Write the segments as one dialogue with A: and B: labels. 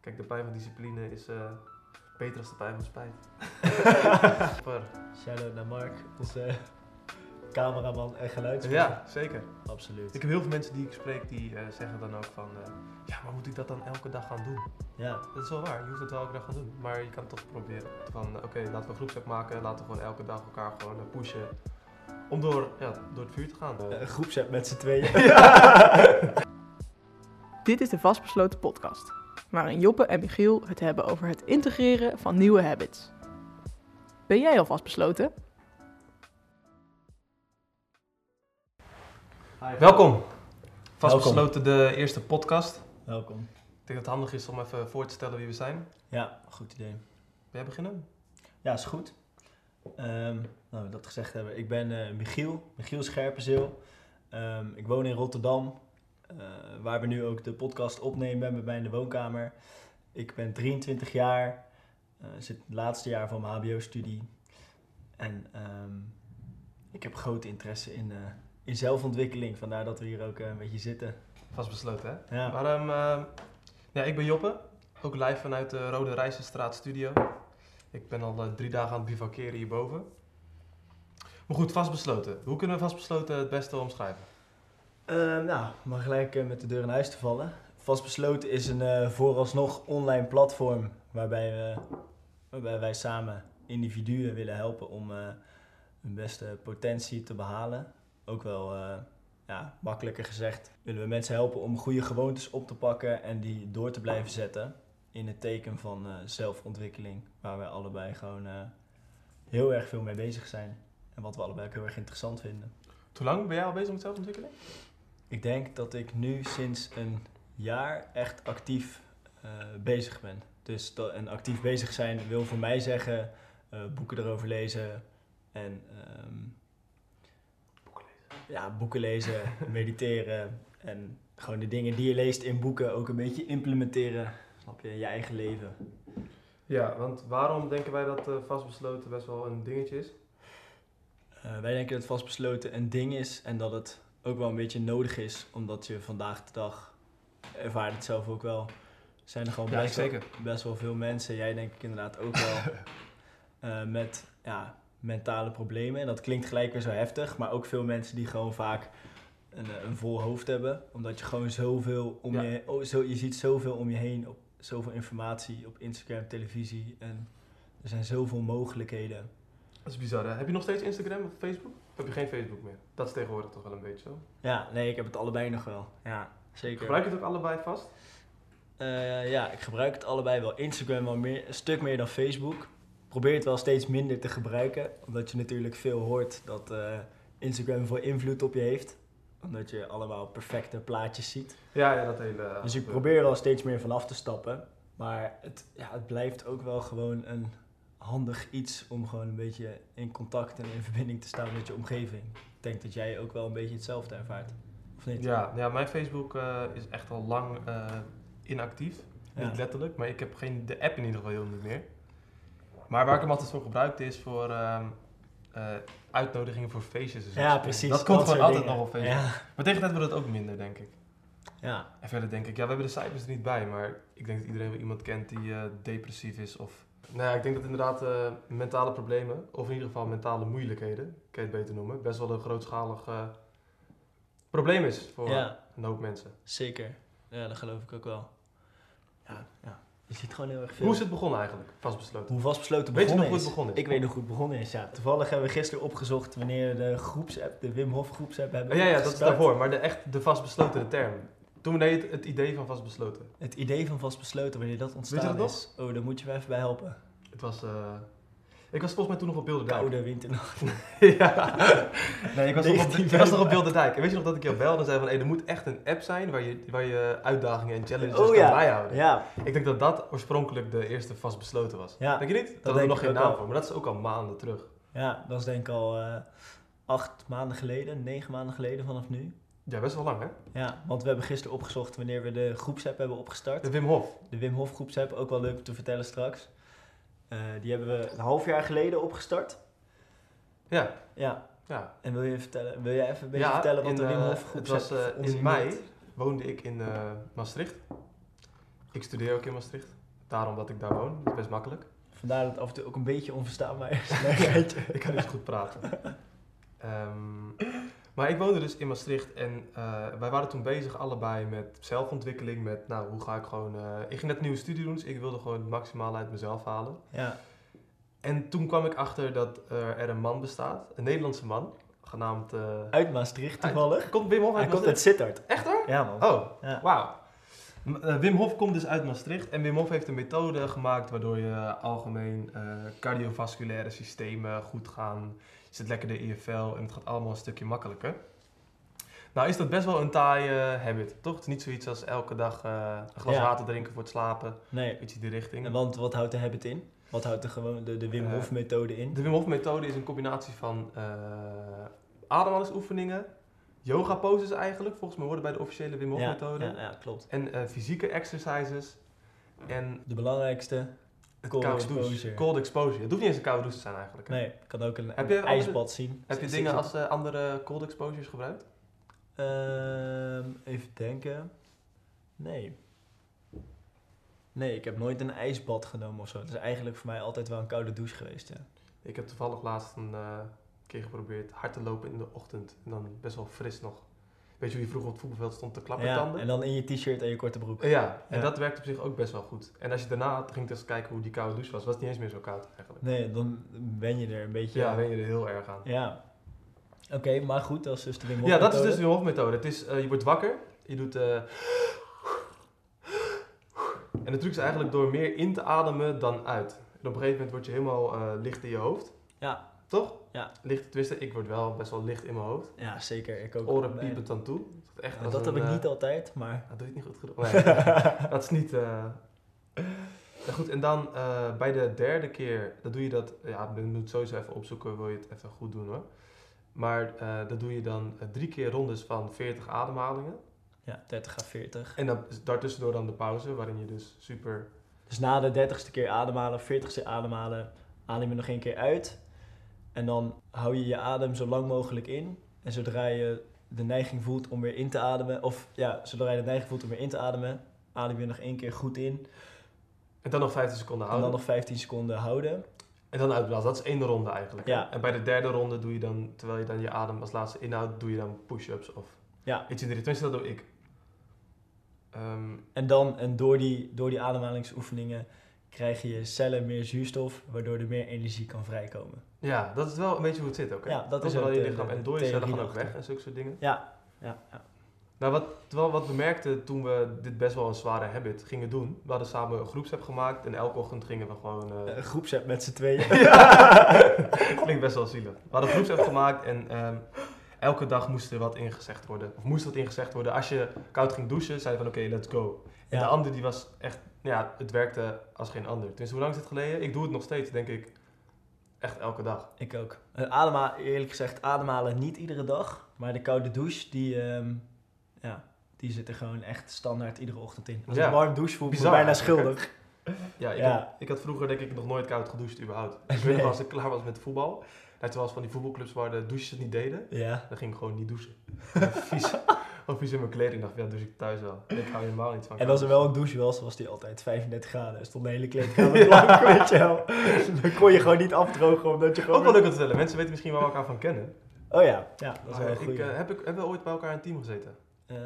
A: Kijk, de pijn van discipline is eh, beter dan de pijn van spijt. Super.
B: Shout-out naar Mark, onze cameraman en geluidsman.
A: ja, zeker.
B: Absoluut.
A: Ik heb heel veel mensen die ik spreek die eh, zeggen dan ook van... eh, ja, maar moet ik dat dan elke dag gaan doen?
B: Ja,
A: Dat is wel waar, je hoeft het wel elke dag gaan doen. Maar je kan het toch proberen. Van eh, oké, laten we een groepsapp maken. Laten we gewoon elke dag elkaar gewoon eh, pushen. Om door, ja, door het vuur te gaan.
B: een groepsapp met z'n tweeën.
C: Dit is de Vastbesloten podcast, waarin Joppe en Michiel het hebben over het integreren van nieuwe habits. Ben jij al vastbesloten?
A: Welkom.
B: Welkom.
A: Vastbesloten de eerste podcast.
B: Welkom.
A: Ik denk dat het handig is om even voor te stellen wie we zijn.
B: Ja, goed idee.
A: Wil jij beginnen?
B: Ja, is goed. Ehm, nou, dat gezegd hebben. Ik ben eh, Michiel, Michiel Scherpenzeel. Ehm, ik woon in Rotterdam, eh, waar we nu ook de podcast opnemen bij mij in de woonkamer. Ik ben 23 jaar, eh, zit het laatste jaar van mijn HBO-studie. En ehm, ik heb grote interesse in, eh, in zelfontwikkeling, vandaar dat we hier ook eh, een beetje zitten.
A: Vastbesloten, hè?
B: Ja.
A: Maar, ehm, ehm, ja, ik ben Joppe, ook live vanuit de Rode Rijzenstraat studio. Ik ben al eh, drie dagen aan het bivakeren hierboven. Maar goed, vastbesloten. Hoe kunnen we vastbesloten het beste omschrijven?
B: Ehm, nou, om maar gelijk eh, met de deur in huis te vallen. Vastbesloten is een eh, vooralsnog online platform waarbij, we, waarbij wij samen individuen willen helpen om eh, hun beste potentie te behalen. Ook wel, eh, ja, makkelijker gezegd, willen we mensen helpen om goede gewoontes op te pakken en die door te blijven zetten. In het teken van eh, zelfontwikkeling, waar wij allebei gewoon eh, heel erg veel mee bezig zijn. En wat we allebei ook heel erg interessant vinden.
A: Hoe lang ben jij al bezig met zelfontwikkeling?
B: Ik denk dat ik nu sinds een jaar echt actief eh, bezig ben. Dus dat, en actief bezig zijn wil voor mij zeggen eh, boeken erover lezen en ehm, ja, boeken lezen, mediteren en gewoon de dingen die je leest in boeken ook een beetje implementeren. Snap je, in je eigen leven.
A: Ja, want waarom denken wij dat eh, vastbesloten best wel een dingetje is?
B: Eh, wij denken dat vastbesloten een ding is en dat het ook wel een beetje nodig is, omdat je vandaag de dag ervaart het zelf ook wel. Zijn er gewoon
A: Ja,
B: best wel-
A: zeker.
B: best wel veel mensen, jij denk ik inderdaad ook wel, eh, met ja, mentale problemen. En dat klinkt gelijk weer zo heftig, maar ook veel mensen die gewoon vaak een, eh, een vol hoofd hebben. Omdat je gewoon zoveel om
A: Ja.
B: je oh, zo, je ziet zoveel om je heen, op, zoveel informatie op Instagram, televisie. En er zijn zoveel mogelijkheden.
A: Dat is bizar, hè? Heb je nog steeds Instagram of Facebook? Of heb je geen Facebook meer? Dat is tegenwoordig toch wel een beetje zo.
B: Ja, nee, ik heb het allebei nog wel. Ja, zeker.
A: Gebruik je het ook allebei vast?
B: Eh, ja, ik gebruik het allebei wel. Instagram wel meer, een stuk meer dan Facebook. Probeer het wel steeds minder te gebruiken. Omdat je natuurlijk veel hoort dat eh, Instagram veel invloed op je heeft. Omdat je allemaal perfecte plaatjes ziet.
A: Ja, ja, dat hele... eh,
B: dus ik
A: gebeuren.
B: probeer wel steeds meer van af te stappen. Maar het, ja, het blijft ook wel gewoon een handig iets om gewoon een beetje in contact en in verbinding te staan met je omgeving. Ik denk dat jij ook wel een beetje hetzelfde ervaart. Of niet?
A: Ja, ja mijn Facebook eh, is echt al lang eh, inactief.
B: Ja.
A: Niet letterlijk, maar ik heb geen, de app in ieder geval heel niet meer. Maar waar ik hem altijd voor gebruikte is voor ehm, eh, uitnodigingen voor feestjes. en zo.
B: Ja, precies.
A: Dus Dat komt
B: soort
A: gewoon altijd
B: dingen.
A: nog op Facebook.
B: Ja.
A: Maar tegen de tijd wordt het ook minder, denk ik.
B: ja,
A: En verder denk ik, ja, we hebben de cijfers er niet bij, maar ik denk dat iedereen wel iemand kent die eh, depressief is of... Nou ja, ik denk dat inderdaad eh, mentale problemen, of in ieder geval mentale moeilijkheden, kan je het beter noemen, best wel een grootschalig eh, probleem is voor
B: Ja,
A: een hoop mensen.
B: zeker. Ja, dat geloof ik ook wel. Ja, ja. Je ziet gewoon heel erg veel.
A: Hoe is het begonnen eigenlijk, vastbesloten?
B: Hoe vastbesloten
A: Weet je
B: begonnen
A: nog hoe
B: is?
A: het begonnen is?
B: Ik weet nog hoe het begonnen is, ja. Toevallig hebben we gisteren opgezocht wanneer we de groepsapp, de Wim Hof groepsapp hebben
A: Oh, ja, ja, dat is
B: opgestart.
A: daarvoor, maar de echt de vastbesloten term. Toen deed het, het idee van vastbesloten.
B: Het idee van vastbesloten, wanneer dat ontstaan
A: dat nog?
B: is. Oh, daar moet je me even bij helpen.
A: Het was... eh, ik was volgens mij toen nog op Bilderdijk.
B: Koude winternacht.
A: ja. Nee, ik was, nog op,
B: 19
A: ik was nog op Bilderdijk. En weet je nog dat ik jou belde en zei van... Hé, er moet echt een app zijn waar je, waar je uitdagingen en challenges
B: Oh,
A: kan
B: ja.
A: bijhouden.
B: Ja,
A: Ik denk dat dat oorspronkelijk de eerste vastbesloten was.
B: Ja,
A: denk je niet? Dat,
B: denk
A: hadden we
B: ik
A: nog geen
B: ook
A: naam
B: wel.
A: voor, maar dat is ook al maanden terug.
B: ja, dat is denk ik al eh, acht maanden geleden, negen maanden geleden vanaf nu.
A: Ja, best wel lang hè?
B: Ja, want we hebben gisteren opgezocht wanneer we de groepsapp hebben opgestart.
A: De Wim Hof.
B: De Wim Hof groepsapp, ook wel leuk om te vertellen straks. Eh, die hebben we een half jaar geleden opgestart.
A: Ja,
B: Ja,
A: ja.
B: en wil je vertellen, wil jij even een beetje
A: ja,
B: vertellen wat
A: in,
B: de Wim
A: eh,
B: Hof
A: Het
B: groepsapp
A: was eh,
B: voor ons
A: in mei
B: inhoudt?
A: woonde ik in eh, Maastricht. Ik studeer ook in Maastricht. Daarom dat ik daar woon. Dat is best makkelijk.
B: Vandaar dat het af en toe ook een beetje onverstaanbaar is. Nee, geitje.
A: Ik kan niet goed praten. Ehm, maar ik woonde dus in Maastricht en eh, wij waren toen bezig allebei met zelfontwikkeling. Met nou, hoe ga ik gewoon... eh, ik ging net een nieuwe studie doen, dus ik wilde gewoon het maximale uit mezelf halen.
B: Ja,
A: En toen kwam ik achter dat eh, er een man bestaat. Een Nederlandse man. Genaamd... eh,
B: uit Maastricht toevallig.
A: Komt Wim Hof Oh, uit
B: Hij komt uit
A: Maastricht?
B: Sittard.
A: Echt hoor?
B: Ja man.
A: Oh,
B: Ja.
A: wauw. M- eh, Wim Hof komt dus uit Maastricht en Wim Hof heeft een methode gemaakt waardoor je algemeen eh, cardiovasculaire systemen goed gaan. Je zit lekker in je vel en het gaat allemaal een stukje makkelijker. Nou is dat best wel een taaie habit, toch? Het is niet zoiets als elke dag eh, een glas
B: Ja.
A: water drinken voor het slapen,
B: Nee.
A: iets in die richting.
B: En Want wat houdt de habit in? Wat houdt de, gewoon de, de Wim
A: Eh,
B: Hof methode in?
A: De Wim Hof methode is een combinatie van eh ademhalingsoefeningen, yoga poses eigenlijk, volgens mij worden bij de officiële Wim Hof
B: ja,
A: methode.
B: Ja, ja, klopt.
A: En eh, fysieke exercises. En
B: De belangrijkste.
A: het
B: Cold
A: koude douche.
B: exposure.
A: Cold exposure. Het hoeft niet eens een koude douche te zijn eigenlijk. hè?
B: Nee, kan ook een,
A: Heb je
B: een
A: andere-
B: ijsbad zien.
A: Heb je
B: Zit-
A: dingen
B: zit-
A: als eh, andere cold exposures gebruikt?
B: Ehm, even denken. Nee. Nee, ik heb nooit een ijsbad genomen of zo. Het is eigenlijk voor mij altijd wel een koude douche geweest. Ja.
A: Ik heb toevallig laatst een eh, keer geprobeerd hard te lopen in de ochtend. En dan best wel fris nog. Weet je hoe je vroeger op het voetbalveld stond te klappen
B: Ja,
A: tanden?
B: en dan in je t-shirt en je korte broek.
A: Eh, ja, en
B: Ja.
A: dat werkt op zich ook best wel goed. En als je daarna ging dus kijken hoe die koude douche was, was het niet eens meer zo koud eigenlijk.
B: Nee, dan ben je er een beetje.
A: Ja, ben je er heel erg aan.
B: Ja. Oké, maar goed, dat is dus de Wim Hof
A: Ja, dat is
B: methode.
A: dus de Wim Hof methode. Het is, eh, je wordt wakker, je doet... eh, en de truc is eigenlijk door meer in te ademen dan uit. En op een gegeven moment word je helemaal eh, licht in je hoofd.
B: Ja.
A: Toch?
B: Ja.
A: Licht, tenminste, ik word wel best wel licht in mijn hoofd.
B: Ja, zeker. Ik ook.
A: Oren
B: Nee.
A: piepen dan toe. Dat, echt
B: Nou,
A: als
B: dat
A: een,
B: heb ik
A: eh,
B: niet altijd, maar...
A: dat doe je het niet goed gedaan. Nee, dat is niet... eh, ja, goed, en dan eh, bij de derde keer, dan doe je dat... Ja, je moet sowieso even opzoeken, wil je het even goed doen hoor. Maar eh dat doe je dan eh, drie keer rondes van 40 ademhalingen.
B: Ja, 30 à 40.
A: En dan, daartussendoor dan de pauze, waarin je dus super...
B: Dus na de 30ste keer ademhalen, 40ste ademhalen, adem je nog één keer uit. En dan hou je je adem zo lang mogelijk in. En zodra je de neiging voelt om weer in te ademen, of ja, zodra je de neiging voelt om weer in te ademen, adem je nog één keer goed in.
A: En dan nog 15 seconden
B: En dan
A: houden.
B: nog 15 seconden houden.
A: En dan uitblazen. Dat is één ronde eigenlijk. hè?
B: Ja.
A: En bij de derde ronde doe je dan, terwijl je dan je adem als laatste inhoudt, doe je dan push-ups of
B: Ja.
A: iets in de richting. Tenminste, dat doe ik. Ehm,
B: En dan, en door die, door die ademhalingsoefeningen krijg je cellen meer zuurstof, waardoor er meer energie kan vrijkomen.
A: ja, dat is wel een beetje hoe het zit ook. Hè?
B: Ja, dat is
A: wel
B: ook
A: je
B: de-
A: lichaam.
B: de-
A: En
B: de
A: door je cellen
B: theorie
A: gaan ook weg
B: erachter.
A: en zulke soort dingen.
B: Ja, ja.
A: Nou, wat, terwijl wat we merkten toen we dit best wel een zware habit gingen doen. We hadden samen een groepsapp gemaakt en elke ochtend gingen we gewoon... eh,
B: Een groepsapp met z'n tweeën.
A: Klinkt best wel zielig. We hadden een groepsapp gemaakt en ehm, elke dag moest er wat ingezegd worden. Of moest wat ingezegd worden. Als je koud ging douchen, zei je van oké, let's go. En
B: Ja.
A: de ander die was echt, nou ja, het werkte als geen ander. Tenminste, hoe lang is het geleden? Ik doe het nog steeds, denk ik, echt elke dag.
B: Ik ook. Eh, Adema, eerlijk gezegd, ademhalen niet iedere dag. Maar de koude douche, die, ehm, ja, die zit er gewoon echt standaard iedere ochtend in. Als
A: Ja.
B: ik warm douche voel, ik me
A: Bizar
B: bijna
A: eigenlijk, hè?
B: schuldig.
A: Ja, ik,
B: Ja.
A: Had, ik had vroeger denk ik nog nooit koud gedoucht überhaupt. Ik weet
B: Nee.
A: nog als ik klaar was met voetbal. Dat was van die voetbalclubs waar de douches het niet deden.
B: Ja.
A: Dan ging ik gewoon niet douchen. Vies. Of vies in mijn kleding. dacht, ja, douche ik thuis wel. Ik hou helemaal niet van
B: En
A: koud
B: als er wel een douche was, was die altijd 35 graden. Er stond de hele kleedkamer blank, weet je wel. Dan kon je gewoon niet afdrogen, omdat je gewoon...
A: Ook wel leuk om te vertellen. Mensen weten misschien waar we elkaar van kennen.
B: Oh ja, ja dat is
A: Maar
B: wel een
A: ik,
B: goeie.
A: eh, heb ik, hebben we ooit bij elkaar in een team gezeten?
B: Eh,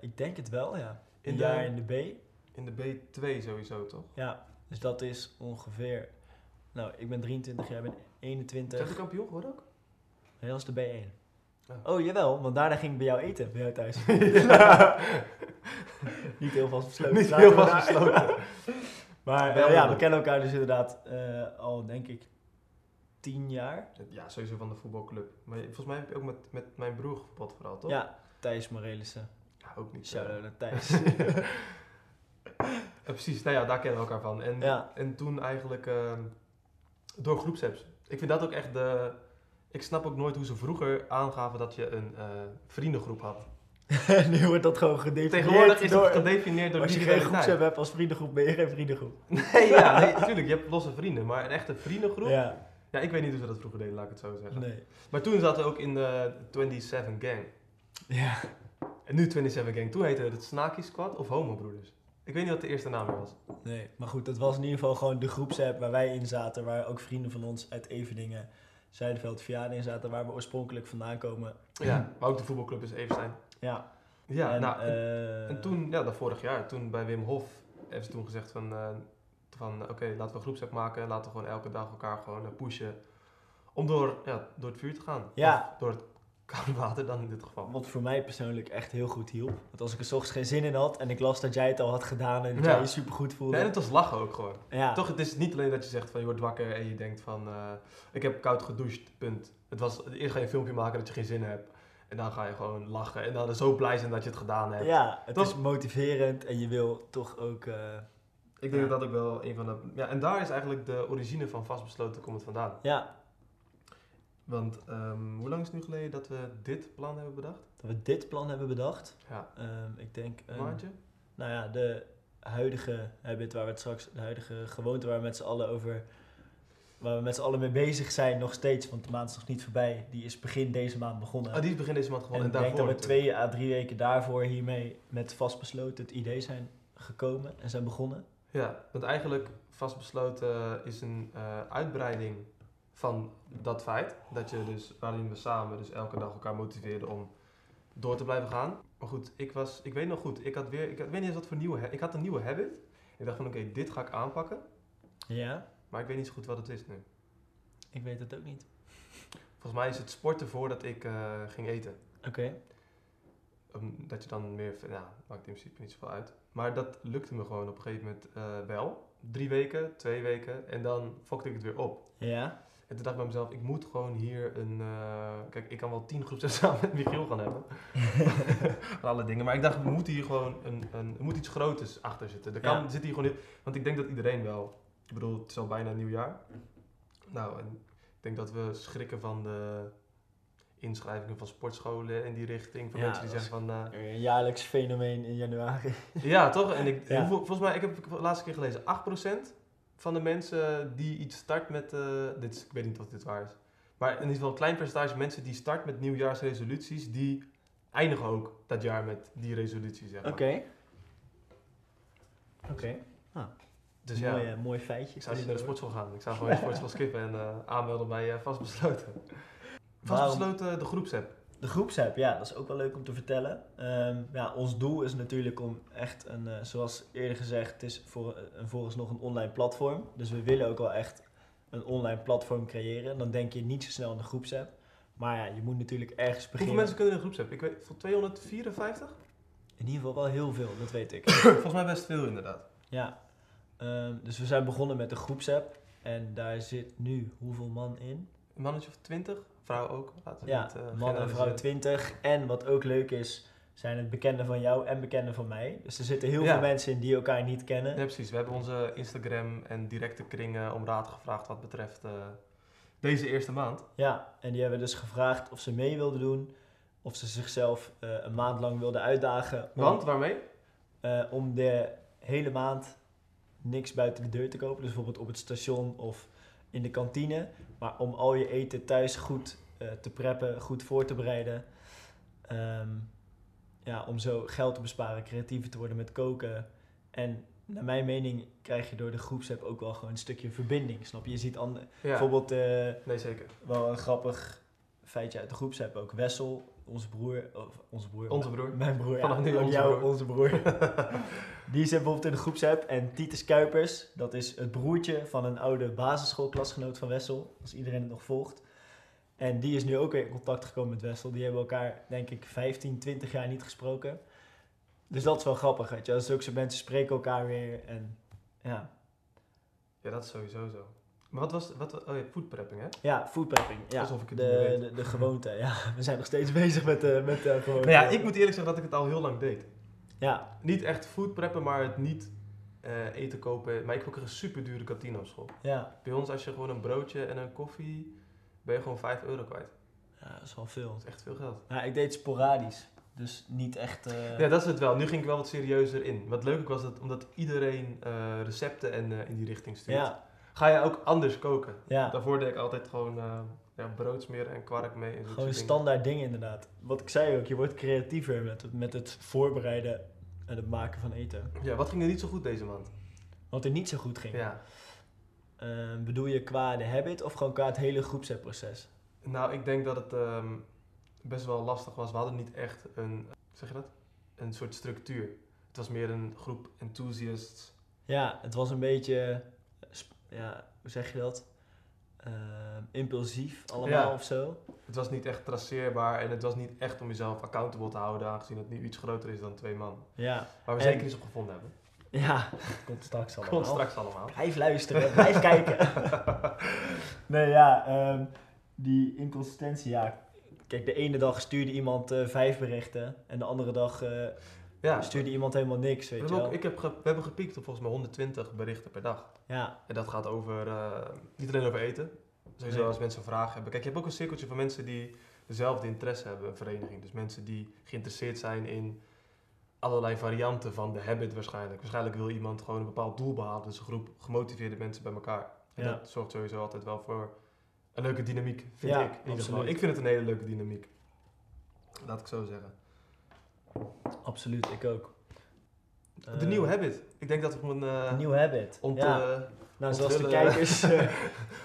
B: ik denk het wel, ja.
A: In
B: Een
A: de-
B: jaar in de B.
A: In de B2 sowieso, toch?
B: Ja, dus dat is ongeveer... Nou, ik ben 23, jij bent
A: Zijn
B: 21.
A: we kampioen geworden ook?
B: Nee, dat was de B1.
A: Ah.
B: Oh, jawel, want daarna ging ik bij jou eten, bij jou thuis. Niet heel vast besloten.
A: Niet
B: Laten
A: heel
B: we
A: vast
B: daar-
A: besloten.
B: Maar eh,
A: Wel
B: ja,
A: leuk.
B: we kennen elkaar dus inderdaad eh, al, denk ik, tien jaar.
A: Ja, sowieso van de voetbalclub. Maar je- volgens mij heb je ook met, met mijn broer gepot vooral, toch?
B: Ja, Thijs Morelissen.
A: Ja, ook niet. eh.
B: Shout-out naar Thijs.
A: Eh, precies, nou ja, daar kennen we elkaar van. En,
B: Ja.
A: en toen eigenlijk eh, door groepsapps. Ik vind dat ook echt de... Ik snap ook nooit hoe ze vroeger aangaven dat je een eh, vriendengroep had.
B: nu wordt dat gewoon gedefinieerd
A: Tegenwoordig is
B: door...
A: het gedefinieerd door
B: als je geen
A: digitaliteit.
B: groepsapp hebt als vriendengroep, ben je geen vriendengroep.
A: Nee, ja, nee, natuurlijk. Je hebt losse vrienden, maar een echte vriendengroep. Ja.
B: Ja,
A: ik weet niet hoe ze dat vroeger deden, laat ik het zo zeggen.
B: nee.
A: Maar toen zaten we ook in de 27 Gang.
B: Ja.
A: En nu 27 Gang. Toen heette het Snaakjes Squad of Homobroeders. Ik weet niet wat de eerste naam weer was.
B: Nee, maar goed, dat was in ieder geval gewoon de groepsapp waar wij in zaten. Waar ook vrienden van ons uit Eveningen, Zuiderveld, Vianen in zaten. Waar we oorspronkelijk vandaan komen.
A: Ja, maar ook de voetbalclub is Evenstein.
B: Ja,
A: Ja,
B: en,
A: nou, en,
B: eh,
A: en toen, ja, dat vorig jaar, toen bij Wim Hof, hebben ze toen gezegd van, eh, van oké, laten we een groepsapp maken. en Laten we gewoon elke dag elkaar gewoon eh, pushen. Om door, ja, door het vuur te gaan.
B: Ja.
A: Of door het koude water dan in dit geval.
B: Wat voor mij persoonlijk echt heel goed hielp. Want als ik er 's ochtends geen zin in had en ik las dat jij het al had gedaan en dat
A: Ja.
B: jij je supergoed
A: Ja, en
B: voelde.
A: het was lachen ook gewoon.
B: Ja,
A: Toch, het is niet alleen dat je zegt van je wordt wakker en je denkt van eh, ik heb koud gedoucht, punt. Het was, eerst ga je een filmpje maken dat je geen zin hebt. En dan ga je gewoon lachen en dan zo blij zijn dat je het gedaan hebt.
B: ja het
A: Toch?
B: is motiverend en je wil toch ook... eh,
A: Ik denk dat
B: Ja.
A: dat ook wel een van de... Ja, en daar is eigenlijk de origine van Vastbesloten komt het vandaan.
B: ja,
A: Want ehm, hoe lang is het nu geleden dat we dit plan hebben bedacht?
B: dat we dit plan hebben bedacht.
A: Ja,
B: Ehm, ik denk...
A: een
B: een-
A: maandje?
B: nou ja, de huidige habit waar we het straks, de huidige gewoonte waar we met z'n allen over, waar we met z'n allen mee bezig zijn nog steeds, want de maand is nog niet voorbij, die is begin deze maand begonnen.
A: Ah, die is begin deze maand
B: en
A: gewoon.
B: ik
A: En,
B: denk dat
A: daarvoor
B: we twee à drie weken daarvoor hiermee met vastbesloten het idee zijn gekomen en zijn begonnen.
A: Ja, want eigenlijk vastbesloten is een eh, uitbreiding van dat feit. Dat je dus, waarin we samen dus elke dag elkaar motiveerden om door te blijven gaan. Maar goed, ik was, ik weet nog goed, ik had weer, ik, had, ik weet niet eens wat voor nieuwe, ha- ik had een nieuwe habit. Ik dacht van oké, dit ga ik aanpakken.
B: Ja,
A: Maar ik weet niet zo goed wat het is nu.
B: ik weet het ook niet.
A: Volgens mij is het sporten voordat ik eh, ging eten.
B: Oké.
A: Om- Ehm, dat je dan meer, nou, maakt in principe niet zoveel uit. Maar dat lukte me gewoon op een gegeven moment eh, wel. Drie weken, twee weken en dan fokte ik het weer op.
B: Ja,
A: En toen dacht ik bij mezelf, ik moet gewoon hier een... eh, kijk, ik kan wel tien groepen samen met Michiel gaan hebben. Van alle dingen. Maar ik dacht, we moeten hier gewoon een, een, er moet iets groters achter zitten. Er kan,
B: Ja.
A: zit hier gewoon... heel- Want ik denk dat iedereen wel... Ik bedoel, het is al bijna nieuwjaar. Nou, en ik denk dat we schrikken van de inschrijvingen van sportscholen in die richting. Van
B: Ja,
A: mensen die
B: dat
A: zeggen van... eh,
B: een jaarlijks fenomeen in januari.
A: ja, toch? En ik,
B: Ja.
A: hoeveel- volgens mij, ik heb de laatste keer gelezen, 8% van de mensen die iets start met, eh, dit is, ik weet niet of dit waar is, maar in ieder geval een klein percentage mensen die start met nieuwjaarsresoluties, die eindigen ook dat jaar met die resolutie, zeg maar.
B: Oké.
A: Dus ja, Dus,
B: mooi, eh, mooi feitje.
A: ik zou niet naar de sportschool gaan. Ik zou gewoon de sportschool skippen en eh, aanmelden bij eh, Vastbesloten. Vastbesloten, de groepsapp.
B: De groepsapp, ja, dat is ook wel leuk om te vertellen. Ehm, ja, ons doel is natuurlijk om echt een, eh, zoals eerder gezegd, het is voor, eh, een, vooralsnog een online platform. Dus we willen ook wel echt een online platform creëren. En dan denk je niet zo snel aan de groepsapp. Maar ja, je moet natuurlijk ergens
A: Hoeveel
B: beginnen.
A: mensen kunnen in de groepsapp? Ik weet, voor 254?
B: In ieder geval wel heel veel, dat weet ik.
A: volgens mij best veel inderdaad.
B: ja. Ehm, dus we zijn begonnen met de groepsapp. En daar zit nu hoeveel man in?
A: Een mannetje of 20? Vrouw ook? Laten we
B: Ja,
A: niet, eh,
B: man en vrouw
A: generaliseren.
B: 20. En wat ook leuk is, zijn het bekenden van jou en bekenden van mij. Dus er zitten heel
A: Ja.
B: veel mensen in die elkaar niet kennen.
A: Ja, precies. We hebben onze Instagram en directe kringen om raad gevraagd wat betreft eh, deze eerste maand.
B: Ja, en die hebben dus gevraagd of ze mee wilden doen. Of ze zichzelf eh, een maand lang wilden uitdagen. om-
A: Want waarmee?
B: eh, om de hele maand niks buiten de deur te kopen. Dus bijvoorbeeld op het station of in de kantine. Maar om al je eten thuis goed eh, te preppen, goed voor te bereiden. Ehm, ja, om zo geld te besparen, creatiever te worden met koken. En naar mijn mening krijg je door de groepsapp ook wel gewoon een stukje verbinding. Snap je? Je ziet ander- bijvoorbeeld eh,
A: Nee, zeker.
B: wel een grappig feitje uit de groepsapp ook. Wessel, onze broer, of onze broer,
A: Onze broer.
B: mijn broer,
A: Vanaf
B: ja.
A: nu
B: Ook
A: onze
B: jou,
A: broer.
B: onze broer. Die zit bijvoorbeeld in de groepsapp. En Titus Kuipers, dat is het broertje van een oude basisschoolklasgenoot van Wessel. Als iedereen het nog volgt. En die is nu ook weer in contact gekomen met Wessel. Die hebben elkaar, denk ik, 15, 20 jaar niet gesproken. Dus dat is wel grappig, weet je. wel. Zulke soort mensen spreken elkaar weer. En ja,
A: Ja, dat is sowieso zo. Maar wat was... Wat, oh ja, foodprepping, hè?
B: ja foodprepping. Ja.
A: Alsof ik het niet meer
B: de,
A: weet.
B: de, de gewoonte, ja. We zijn nog steeds bezig met de met, eh, de gewoonte.
A: Nou ja, ik moet eerlijk zeggen dat ik het al heel lang deed.
B: Ja,
A: Niet echt foodpreppen, maar het niet eh, eten kopen. Maar ik heb ook een super dure kantine op school.
B: ja.
A: Bij ons, als je gewoon een broodje en een koffie... ben je gewoon 5 euro kwijt.
B: ja, dat is wel veel.
A: Dat is echt veel geld.
B: Ja, Nou, ik deed sporadisch. Dus niet echt... eh,
A: Ja, dat is het wel. Nu ging ik wel wat serieuzer in. Wat leuk ook was, dat, omdat iedereen eh, recepten en, eh, in die richting stuurt.
B: ja,
A: Ga je ook anders koken?
B: ja.
A: Daarvoor deed ik altijd gewoon eh ja, brood smeren en kwark mee. En zulke
B: Gewoon
A: soort dingen.
B: standaard dingen inderdaad. Wat ik zei ook, je wordt creatiever met het, met het voorbereiden en het maken van eten.
A: Ja, wat ging er niet zo goed deze maand?
B: Wat er niet zo goed ging.
A: Ja.
B: Eh, bedoel je qua de habit of gewoon qua het hele groepsapp-proces?
A: Nou, ik denk dat het ehm, best wel lastig was. We hadden niet echt een, zeg je dat? Een soort structuur. Het was meer een groep enthusiasts.
B: Ja, het was een beetje, eh, sp- ja, hoe zeg je dat? Eh, impulsief allemaal
A: Ja.
B: of zo.
A: Het was niet echt traceerbaar en het was niet echt om jezelf accountable te houden, aangezien het nu iets groter is dan twee man.
B: Ja,
A: Waar we
B: En-
A: zeker iets op gevonden hebben.
B: ja. komt straks allemaal.
A: Komt straks allemaal.
B: Blijf luisteren, blijf kijken. Nee, ja, ehm, die inconsistentie, ja. Kijk, de ene dag stuurde iemand eh, vijf berichten en de andere dag eh,
A: Ja,
B: stuurde iemand helemaal niks,
A: we
B: weet
A: hebben,
B: je
A: ook,
B: wel.
A: ik heb ge- we hebben gepiekt op volgens mij 120 berichten per dag.
B: Ja,
A: En dat gaat over, eh, niet alleen over eten. Sowieso
B: Nee.
A: als mensen vragen hebben. Kijk, je hebt ook een cirkeltje van mensen die dezelfde interesse hebben, een vereniging. Dus mensen die geïnteresseerd zijn in allerlei varianten van de habit waarschijnlijk. Waarschijnlijk wil iemand gewoon een bepaald doel behalen. Dus een groep gemotiveerde mensen bij elkaar. En
B: Ja.
A: dat zorgt sowieso altijd wel voor een leuke dynamiek, vind
B: Ja,
A: ik. In ieder geval.
B: absoluut.
A: Ik vind het een hele leuke dynamiek. Laat ik zo zeggen.
B: absoluut, ik ook.
A: de nieuwe habit. Ik denk dat we een...
B: Een
A: eh
B: nieuwe habit.
A: ont,
B: Eh, ja.
A: eh,
B: nou, zoals de
A: onthullen-
B: kijkers, eh,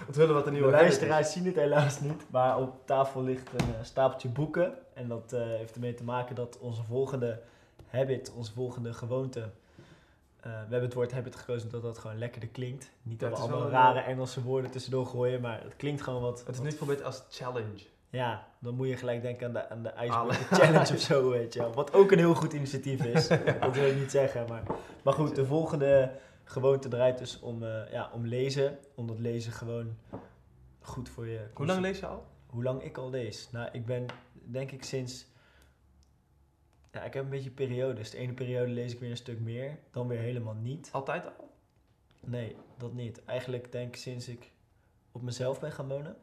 A: onthullen wat de
B: de
A: nieuwe habit is.
B: luisteraars zien het helaas niet, maar op tafel ligt een eh, stapeltje boeken. En dat eh, heeft ermee te maken dat onze volgende habit, onze volgende gewoonte... eh, we hebben het woord habit gekozen omdat dat gewoon lekkerder klinkt. Niet
A: Ja,
B: dat
A: het
B: we
A: is
B: allemaal
A: wel een- eh,
B: rare Engelse woorden tussendoor gooien, maar het klinkt gewoon wat...
A: Het is
B: wat-
A: niet veel beter als challenge.
B: Ja, dan moet je gelijk denken aan de, aan de
A: Alle-
B: IJsbucket Challenge of zo, weet je wel. Wat ook een heel goed initiatief is. dat wil ik niet zeggen, maar... Maar goed, de volgende gewoonte draait dus om, eh, ja, om lezen. Omdat lezen gewoon goed voor je...
A: Hoe lang lees je al?
B: Hoe lang ik al lees? Nou, ik ben denk ik sinds... Ja, ik heb een beetje periodes. De ene periode lees ik weer een stuk meer, dan weer helemaal niet.
A: Altijd al?
B: Nee, dat niet. Eigenlijk denk ik sinds ik op mezelf ben gaan wonen.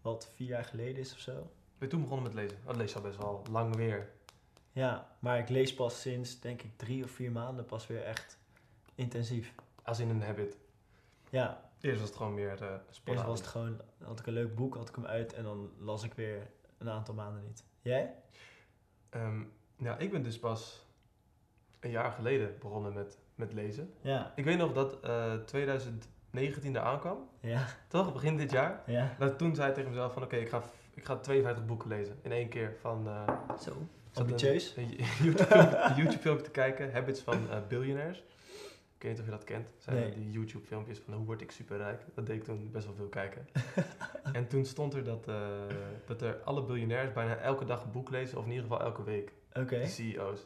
B: Wat vier jaar geleden is of zo.
A: Ben je toen begonnen met lezen? Oh, dat lees je al best wel lang weer.
B: Ja, maar ik lees pas sinds denk ik drie of vier maanden pas weer echt intensief.
A: Als in een habit.
B: Ja,
A: Eerst was het gewoon meer eh
B: eerst was
A: sporten.
B: het gewoon, had ik een leuk boek, had ik hem uit en dan las ik weer een aantal maanden niet. Jij?
A: Ehm, nou, ik ben dus pas een jaar geleden begonnen met, met lezen.
B: Ja.
A: Ik weet nog dat eh 2019 eraan kwam.
B: Ja,
A: Toch? Begin dit jaar.
B: ja.
A: Dat toen zei ik tegen mezelf van oké, ik, ga, ik ga 52 boeken lezen in één keer. Van, eh,
B: Zo.
A: ik zat
B: Ambitieus?
A: Een YouTube-filmpje te kijken. Habits van eh biljonairs. Ik weet niet of je dat kent. Zijn
B: Nee.
A: die YouTube-filmpjes van hoe word ik superrijk. Dat deed ik toen best wel veel kijken. en toen stond er dat, eh, dat er alle biljonairs bijna elke dag een boek lezen. Of in ieder geval elke week.
B: Oké.
A: De CEO's.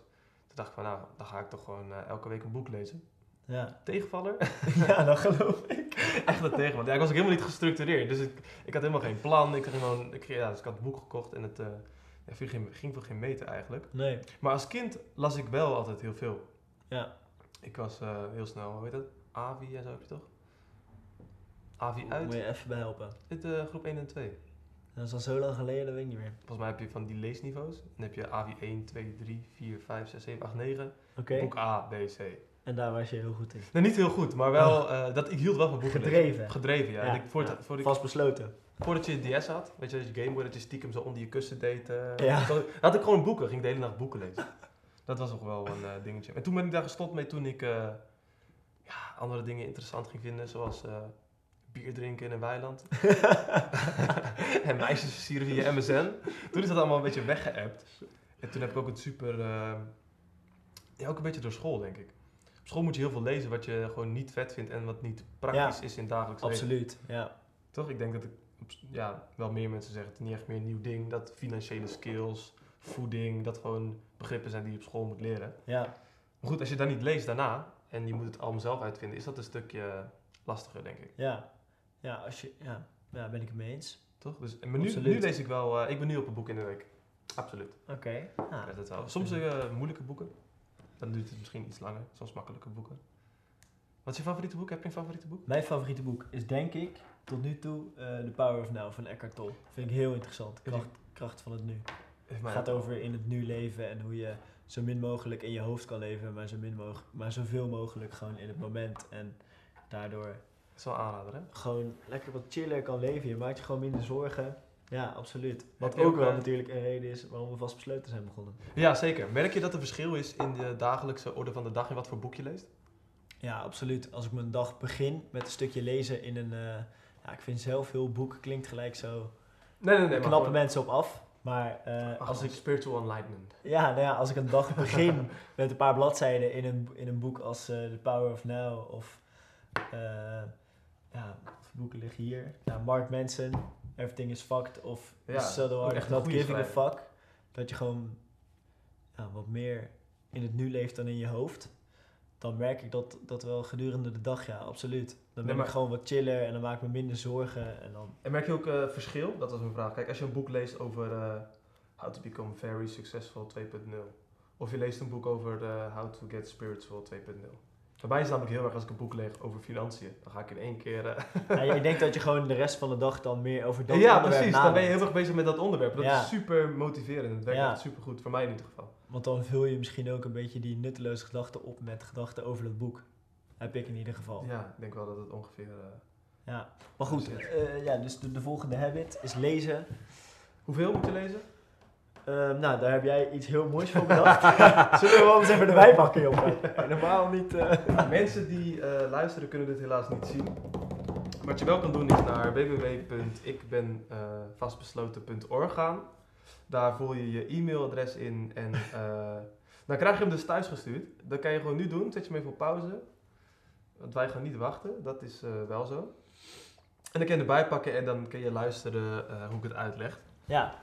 A: Toen dacht ik van nou, dan ga ik toch gewoon eh, elke week een boek lezen.
B: Ja.
A: Tegenvaller?
B: ja, dat geloof ik.
A: Echt een tegenvaller. Ja, ik was ook helemaal niet gestructureerd. Dus ik, ik had helemaal geen plan. Ik, had gewoon, ik, ja, dus ik had het boek gekocht en het eh, ja, viel geen- ging voor geen meter eigenlijk.
B: Nee.
A: Maar als kind las ik wel altijd heel veel.
B: Ja.
A: Ik was eh, heel snel, hoe heet dat? AVI en zo heb je toch? AVI uit?
B: Moet je even bij helpen.
A: Dit eh, groep 1 en 2.
B: Dat is al zo lang geleden, dat weet ik niet meer.
A: Volgens mij heb je van die leesniveaus. Dan heb je AVI 1, 2, 3, 4, 5, 6, 7, 8, 9.
B: Oké.
A: Boek A, B, C.
B: En daar was je heel goed in.
A: Nee, niet heel goed, maar wel, eh, dat, ik hield wel van boeken lezen.
B: Oh. Gedreven.
A: Gedreven, ja.
B: Ja,
A: En ik, voordat,
B: ja.
A: voordat ik-
B: Vast besloten.
A: voordat je DS had, weet je, als je Game Boy, dat je stiekem zo onder je kussen deed. eh,
B: Ja.
A: dan had ik gewoon boeken, ging ik de hele nacht boeken lezen. Dat was nog wel een eh, dingetje. En toen ben ik daar gestopt mee toen ik eh, ja, andere dingen interessant ging vinden, zoals eh, bier drinken in een weiland. en meisjes versieren via MSN. Toen is dat allemaal een beetje weggeëpt. En toen heb ik ook het super... eh, ja, ook een beetje door school, denk ik. Op school moet je heel veel lezen wat je gewoon niet vet vindt en wat niet praktisch is in het dagelijks leven.
B: Absoluut. Ja.
A: Toch? Ik denk dat ik, op s- ja, wel meer mensen zeggen, het is niet echt meer een nieuw ding. Dat financiële skills, voeding, dat gewoon begrippen zijn die je op school moet leren.
B: Ja.
A: Maar goed, als je dat niet leest daarna en je moet het allemaal zelf uitvinden, is dat een stukje lastiger, denk ik.
B: Ja. Ja, als je... Ja. Ja, ben ik het mee eens.
A: Toch? Dus, maar nu,
B: Absoluut.
A: nu lees ik wel, eh, ik ben nu op een boek in de week. Absoluut.
B: Oké. Ah,
A: Ja,
B: Ja.
A: dat wel. Soms eh, moeilijke boeken. Dan duurt het misschien iets langer. Soms makkelijke boeken. Wat is je favoriete boek? Heb je een favoriete boek?
B: Mijn favoriete boek is denk ik tot nu toe eh The Power of Now van Eckhart Tolle. Vind ik heel interessant. Kracht, kracht van het nu.
A: Heeft
B: Het
A: mij-
B: gaat over in het nu leven en hoe je zo min mogelijk in je hoofd kan leven, maar, zo min mogelijk, maar zoveel mogelijk gewoon in het moment. En daardoor
A: Het is wel een aanrader, hè?
B: gewoon lekker wat chiller kan leven. Je maakt je gewoon minder zorgen. Ja, absoluut. Wat
A: Heb je
B: ook
A: ook,
B: wel
A: eh,
B: natuurlijk een reden is waarom we vastbesloten zijn begonnen.
A: Ja, zeker. Merk je dat er verschil is in de dagelijkse orde van de dag in wat voor boek je leest?
B: Ja, absoluut. Als ik mijn dag begin met een stukje lezen in een... eh, ja, ik vind zelf heel boeken klinkt gelijk zo...
A: Nee, nee,
B: Daar
A: nee. maar
B: knappen
A: gewoon-
B: mensen op af. Maar eh,
A: Ach,
B: als, ik,
A: spiritual enlightenment.
B: ja, nou ja, als ik een dag begin met een paar bladzijden in een, in een boek als eh, The Power of Now of... eh, ja, wat voor boeken liggen hier? Nou, Mark Manson, Everything is Fucked of
A: Ja,
B: So The
A: ook
B: Hard
A: echt
B: of
A: een
B: Not
A: goede
B: Giving a
A: schrijver.
B: Fuck. Dat je gewoon ja, wat meer in het nu leeft dan in je hoofd. Dan merk ik dat, dat wel gedurende de dag, ja, absoluut. Dan ben
A: maar-
B: ik gewoon wat chiller en dan maak ik me minder zorgen. En dan,
A: En merk je ook eh, verschil? Dat was mijn vraag. Kijk, als je een boek leest over eh, How to Become Very Successful 2.0. Of je leest een boek over eh, How to Get Spiritual 2.0. Voor mij is het namelijk heel erg als ik een boek lees over financiën. Dan ga ik in één keer... eh,
B: ja, ik denk dat je gewoon de rest van de dag dan meer over dat
A: ja,
B: onderwerp
A: precies. Dan ben je
B: nadenkt.
A: heel erg bezig met dat onderwerp. Dat
B: Ja.
A: is super motiverend. Het werkt
B: Ja.
A: echt super goed. Voor mij in ieder geval.
B: Want dan vul je misschien ook een beetje die nutteloze gedachten op met gedachten over het boek. Heb ik in ieder geval. Ja.
A: Ja, ik denk wel dat het ongeveer... eh,
B: Maar goed, eh, ja, dus de, de volgende habit is lezen.
A: hoeveel moet je lezen?
B: Ehm, nou, daar heb jij iets heel moois voor bedacht. Zullen we wel eens even erbij pakken, jongen? Normaal niet. eh.
A: Mensen die eh, luisteren kunnen dit helaas niet zien. Maar Wat je wel kan doen is naar eh, www.ikbenvastbesloten.org gaan. Daar voel je je e-mailadres in en eh, dan krijg je hem dus thuis gestuurd. Dat kan je gewoon nu doen. Zet je hem even op pauze. Want wij gaan niet wachten. Dat is eh, wel zo. En dan kan je erbij pakken en dan kan je luisteren eh, hoe ik het uitleg.
B: Ja,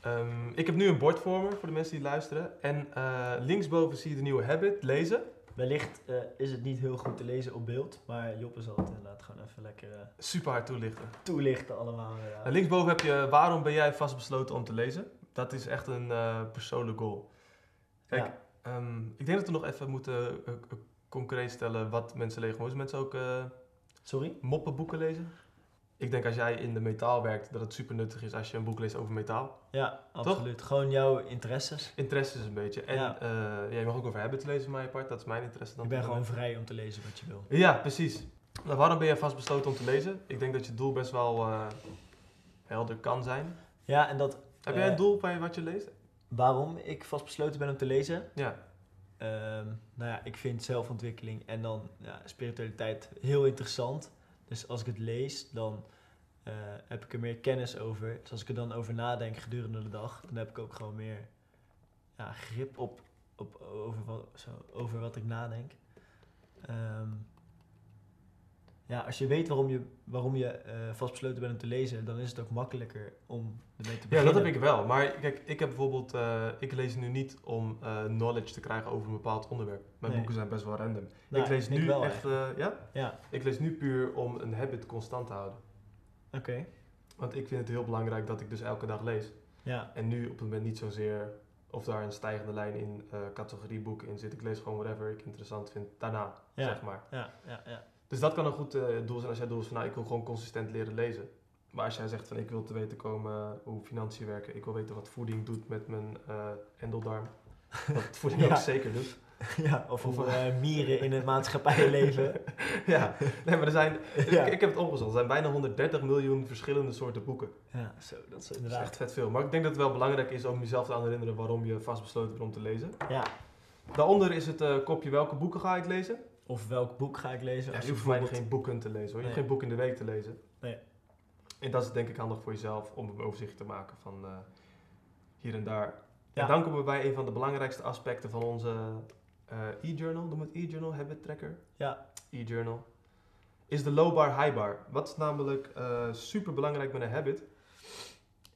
A: Ehm, ik heb nu een bord voor me voor de mensen die luisteren. En eh, linksboven zie je de nieuwe habit, lezen.
B: wellicht eh, is het niet heel goed te lezen op beeld. Maar Joppe zal het inderdaad gewoon even lekker eh,
A: Super hard toelichten.
B: toelichten allemaal. eh. ja.
A: Nou, linksboven heb je waarom ben jij vastbesloten om te lezen? Dat is echt een eh, persoonlijk goal. Kijk,
B: Ja.
A: ehm, ik denk dat we nog even moeten eh, eh, concreet stellen wat mensen lezen. Moeten mensen ook eh,
B: Sorry?
A: moppenboeken lezen? Ik denk als jij in de metaal werkt, dat het super nuttig is als je een boek leest over metaal.
B: Ja, absoluut. Gewoon jouw interesses.
A: Interesse is een beetje. En
B: Ja.
A: eh, ja, je mag ook over habits lezen, van mijn part. Dat is mijn interesse dan.
B: Je bent gewoon vrij om te lezen wat je wil.
A: Ja, precies. Nou, waarom ben jij vastbesloten om te lezen? Ik denk dat je doel best wel eh, helder kan zijn.
B: Ja, en dat
A: Heb jij een
B: Eh,
A: doel bij wat je leest?
B: waarom ik vastbesloten ben om te lezen.
A: Ja.
B: Ehm, nou ja, ik vind zelfontwikkeling en dan ja, spiritualiteit heel interessant. Dus als ik het lees, dan eh, heb ik er meer kennis over. Dus als ik er dan over nadenk gedurende de dag, dan heb ik ook gewoon meer ja, grip op, op, over, wat, zo, over wat ik nadenk. Ehm, ja, als je weet waarom je, waarom je eh, vastbesloten bent om te lezen, dan is het ook makkelijker om ermee te
A: Ja,
B: beginnen.
A: dat heb ik wel. Maar kijk, ik heb bijvoorbeeld, eh, ik lees nu niet om eh, knowledge te krijgen over een bepaald onderwerp. Mijn
B: Nee.
A: boeken zijn best wel random.
B: Nou,
A: ik lees nu
B: wel
A: echt,
B: eigenlijk.
A: eh, ja?
B: Ja.
A: Ik lees nu puur om een habit constant te houden.
B: Oké,
A: Want ik vind het heel belangrijk dat ik dus elke dag lees.
B: ja.
A: En nu op het moment niet zozeer of daar een stijgende lijn in eh categorie boeken in zit. Ik lees gewoon whatever ik interessant vind daarna,
B: Ja.
A: zeg maar.
B: Ja, ja, ja.
A: Dus dat kan een goed eh, doel zijn als jij doel is van, nou, ik wil gewoon consistent leren lezen. Maar als jij zegt van, ik wil te weten komen eh, hoe financiën werken. Ik wil weten wat voeding doet met mijn eh endeldarm. Wat voeding
B: Ja.
A: ook zeker doet.
B: Ja, of
A: Of-
B: hoe eh, mieren in het maatschappij leven.
A: ja, nee, maar er zijn,
B: Ja.
A: ik, ik heb het opgezocht. Er zijn bijna 130 miljoen verschillende soorten boeken.
B: Ja, zo, dat is
A: Dat is
B: inderdaad.
A: echt vet veel. Maar ik denk dat het wel belangrijk is om jezelf te aan te herinneren waarom je vastbesloten bent om te lezen.
B: Ja.
A: Daaronder is het eh, kopje welke boeken ga ik lezen.
B: Of welk boek ga ik lezen?
A: Ja,
B: Als
A: je
B: je
A: hoeft voor mij
B: bijvoorbeeld-
A: geen boeken te lezen hoor. Je hoeft
B: Nee.
A: geen boek in de week te lezen.
B: Nee.
A: En dat is denk ik handig voor jezelf om een overzicht te maken van eh, hier en daar.
B: Ja.
A: En dan komen we bij een van de belangrijkste aspecten van onze eh, e-journal. Noem het e-journal, habit tracker.
B: Ja.
A: E-journal. Is de low bar, high bar. Wat is namelijk super belangrijk met een habit?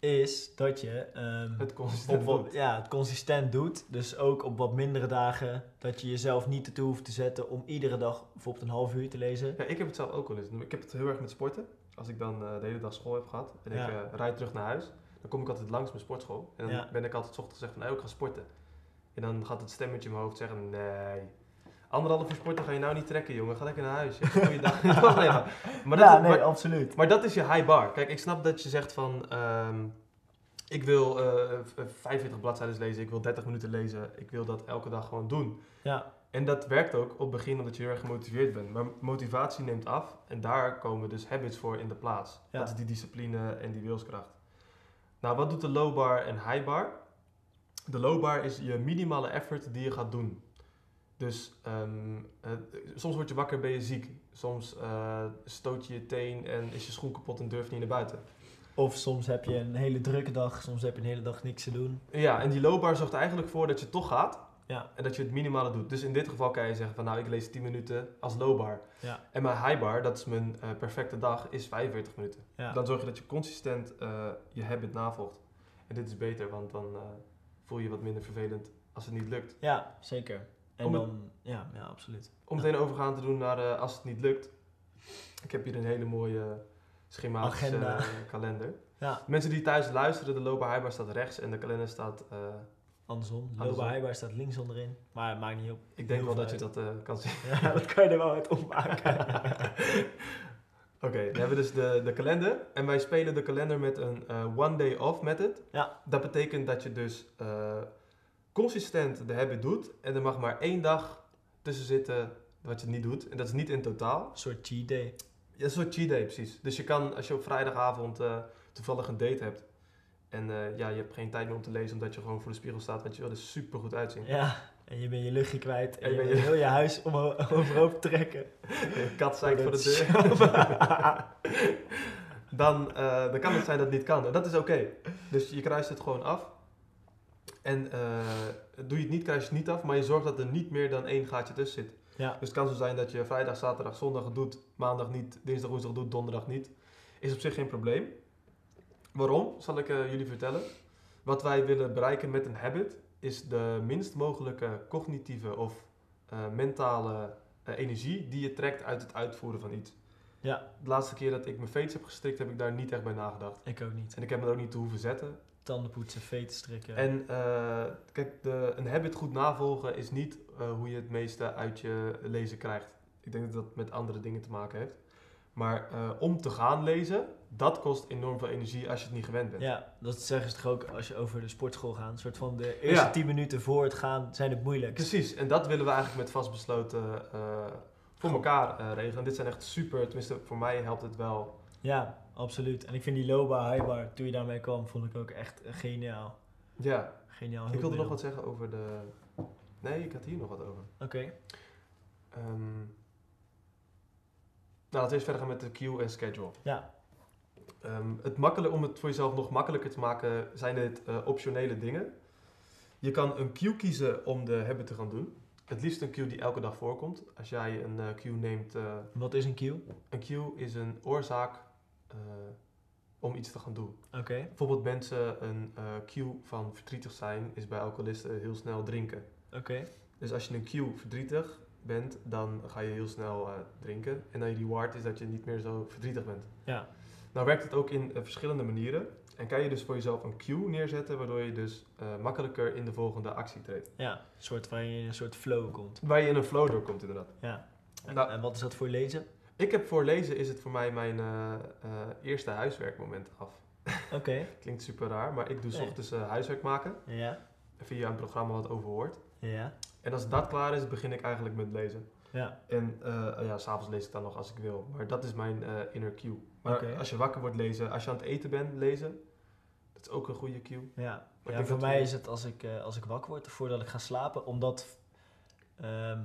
B: Is dat je ehm,
A: Het consistent
B: op wat-
A: doen.
B: ja, het consistent doet. Dus ook op wat mindere dagen. Dat je jezelf niet ertoe hoeft te zetten om iedere dag bijvoorbeeld een half uur te lezen.
A: Ja, ik heb het zelf ook wel eens. Ik heb het heel erg met sporten. Als ik dan eh, de hele dag school heb gehad en
B: Ja.
A: ik eh, rijd terug naar huis, dan kom ik altijd langs mijn sportschool. En dan
B: Ja.
A: ben ik altijd 's ochtends gezegd van, hey, ik ga sporten. En dan gaat het stemmetje in mijn hoofd zeggen, nee, anderhalf uur sporten ga je nou niet trekken, jongen. Ga lekker naar huis. Je hebt een goede dag. Nee, maar, maar, dat,
B: ja, nee,
A: maar,
B: absoluut.
A: maar dat is je high bar. Kijk, ik snap dat je zegt van, ehm, ik wil eh, v- 45 bladzijden lezen, ik wil 30 minuten lezen. Ik wil dat elke dag gewoon doen.
B: Ja,
A: En dat werkt ook op het begin omdat je heel erg gemotiveerd bent. Maar motivatie neemt af en daar komen dus habits voor in de plaats.
B: Ja.
A: Dat is die discipline en die wilskracht. Nou, wat doet de low bar en high bar? De low bar is je minimale effort die je gaat doen. Dus ehm, eh, soms word je wakker ben je ziek. Soms eh, stoot je je teen en is je schoen kapot en durf je niet naar buiten.
B: Of soms heb je een hele drukke dag, soms heb je een hele dag niks te doen.
A: Ja, en die loopbar zorgt er eigenlijk voor dat je toch gaat.
B: Ja.
A: En dat je het minimale doet. Dus in dit geval kan je zeggen van nou, ik lees 10 minuten als loopbar.
B: Ja.
A: En mijn highbar, dat is mijn eh, perfecte dag, is 45 minuten.
B: Ja.
A: Dan zorg je dat je consistent eh, je habit navolgt. En dit is beter, want dan eh, voel je je wat minder vervelend als het niet lukt.
B: Ja, zeker. En
A: Om het-
B: dan, ja, ja, absoluut.
A: Om meteen overgaan te doen naar eh, als het niet lukt. Ik heb hier een hele mooie schematische
B: Agenda.
A: eh, kalender.
B: Ja.
A: Mensen die thuis luisteren, de loopbar highbar staat rechts en de kalender staat... eh,
B: Andersom,
A: Andersom.
B: Loba Heibar staat links onderin, maar het maakt niet op.
A: ik denk
B: Heel
A: wel dat je
B: fijn.
A: dat eh, kan zien.
B: Ja, dat kan je er wel uit opmaken.
A: Oké, dan hebben we dus de, de kalender. En wij spelen de kalender met een eh, one day off method.
B: Ja.
A: Dat betekent dat je dus eh, consistent de habit doet. En er mag maar één dag tussen zitten wat je niet doet. En dat is niet in totaal.
B: Een soort cheat day.
A: Ja, dat is een soort cheat day precies. Dus je kan, als je op vrijdagavond eh, toevallig een date hebt. En eh, ja, je hebt geen tijd meer om te lezen omdat je gewoon voor de spiegel staat. Want je wil er super goed uitzien.
B: Ja, en je bent je luchtje kwijt en,
A: En
B: je
A: ben
B: bent
A: je-
B: heel je huis om, overhoop trekken.
A: De kat zeikt voor
B: Dat
A: de deur. dan, eh, dan kan het zijn dat het niet kan. En dat is oké. Dus je kruist het gewoon af. En eh, doe je het niet, kruis je het niet af. Maar je zorgt dat er niet meer dan één gaatje tussen zit.
B: Ja.
A: Dus het kan zo zijn dat je vrijdag, zaterdag, zondag het doet. Maandag niet, dinsdag, woensdag doet, donderdag niet. Is op zich geen probleem. Waarom? Zal ik eh, jullie vertellen. Wat wij willen bereiken met een habit is de minst mogelijke cognitieve of eh, mentale eh, energie die je trekt uit het uitvoeren van iets.
B: Ja.
A: De laatste keer dat ik mijn veets heb gestrikt, heb ik daar niet echt bij nagedacht.
B: Ik ook niet.
A: En ik heb me er ook niet toe hoeven zetten.
B: Tanden poetsen, veten strikken.
A: En eh, kijk, de, een habit goed navolgen is niet eh, hoe je het meeste uit je lezen krijgt. Ik denk dat dat met andere dingen te maken heeft. Maar eh, om te gaan lezen, dat kost enorm veel energie als je het niet gewend bent.
B: Ja, dat zeggen ze toch ook als je over de sportschool gaat. Een soort van de eerste
A: Ja.
B: tien minuten voor het gaan zijn het moeilijkst.
A: Precies, en dat willen we eigenlijk met vastbesloten eh, voor elkaar eh, regelen. En dit zijn echt super, tenminste voor mij helpt het wel.
B: Ja, absoluut. En ik vind die Loba Highbar, toen je daarmee kwam, vond ik ook echt eh, geniaal.
A: Ja,
B: Geniaal.
A: ik wilde nog
B: hulpmiddel.
A: wat zeggen over de... Nee, ik had hier nog wat over.
B: Oké.
A: Ehm, nou, laten we eerst verder gaan met de queue en schedule.
B: Ja.
A: Ehm, het makkelijk, om het voor jezelf nog makkelijker te maken, zijn dit eh, optionele dingen. Je kan een queue kiezen om de habit te gaan doen. Het liefst een queue die elke dag voorkomt. Als jij een eh, queue neemt, eh,
B: Wat is een cue?
A: een queue is een oorzaak eh, om iets te gaan doen.
B: Oké.
A: Bijvoorbeeld mensen, een eh, queue van verdrietig zijn is bij alcoholisten heel snel drinken.
B: Oké.
A: Dus als je een cue verdrietig bent, dan ga je heel snel eh, drinken. En dan je reward is dat je niet meer zo verdrietig bent.
B: Ja.
A: Nou werkt het ook in eh, verschillende manieren. En kan je dus voor jezelf een cue neerzetten, waardoor je dus eh, makkelijker in de volgende actie treedt.
B: Ja, een soort waarin je in een soort flow komt.
A: Waar je in een flow door komt inderdaad.
B: Ja. En,
A: Nou-
B: en wat is dat voor lezen?
A: Ik heb voor lezen is het voor mij mijn eh, eh, eerste huiswerkmoment af.
B: Oké.
A: Klinkt super raar, maar ik doe 's
B: Nee.
A: ochtends eh, huiswerk maken
B: Ja.
A: via een programma wat overhoort.
B: Ja.
A: En als dat klaar is, begin ik eigenlijk met lezen.
B: Ja.
A: En eh ja, s'avonds lees ik dan nog als ik wil. Maar dat is mijn eh, inner cue. Maar
B: Oké.
A: als je wakker wordt lezen, als je aan het eten bent lezen, dat is ook een goede cue.
B: Ja,
A: denk
B: ja
A: dat
B: voor mij
A: we-
B: is het als ik, eh, als ik wakker word voordat ik ga slapen, omdat ehm,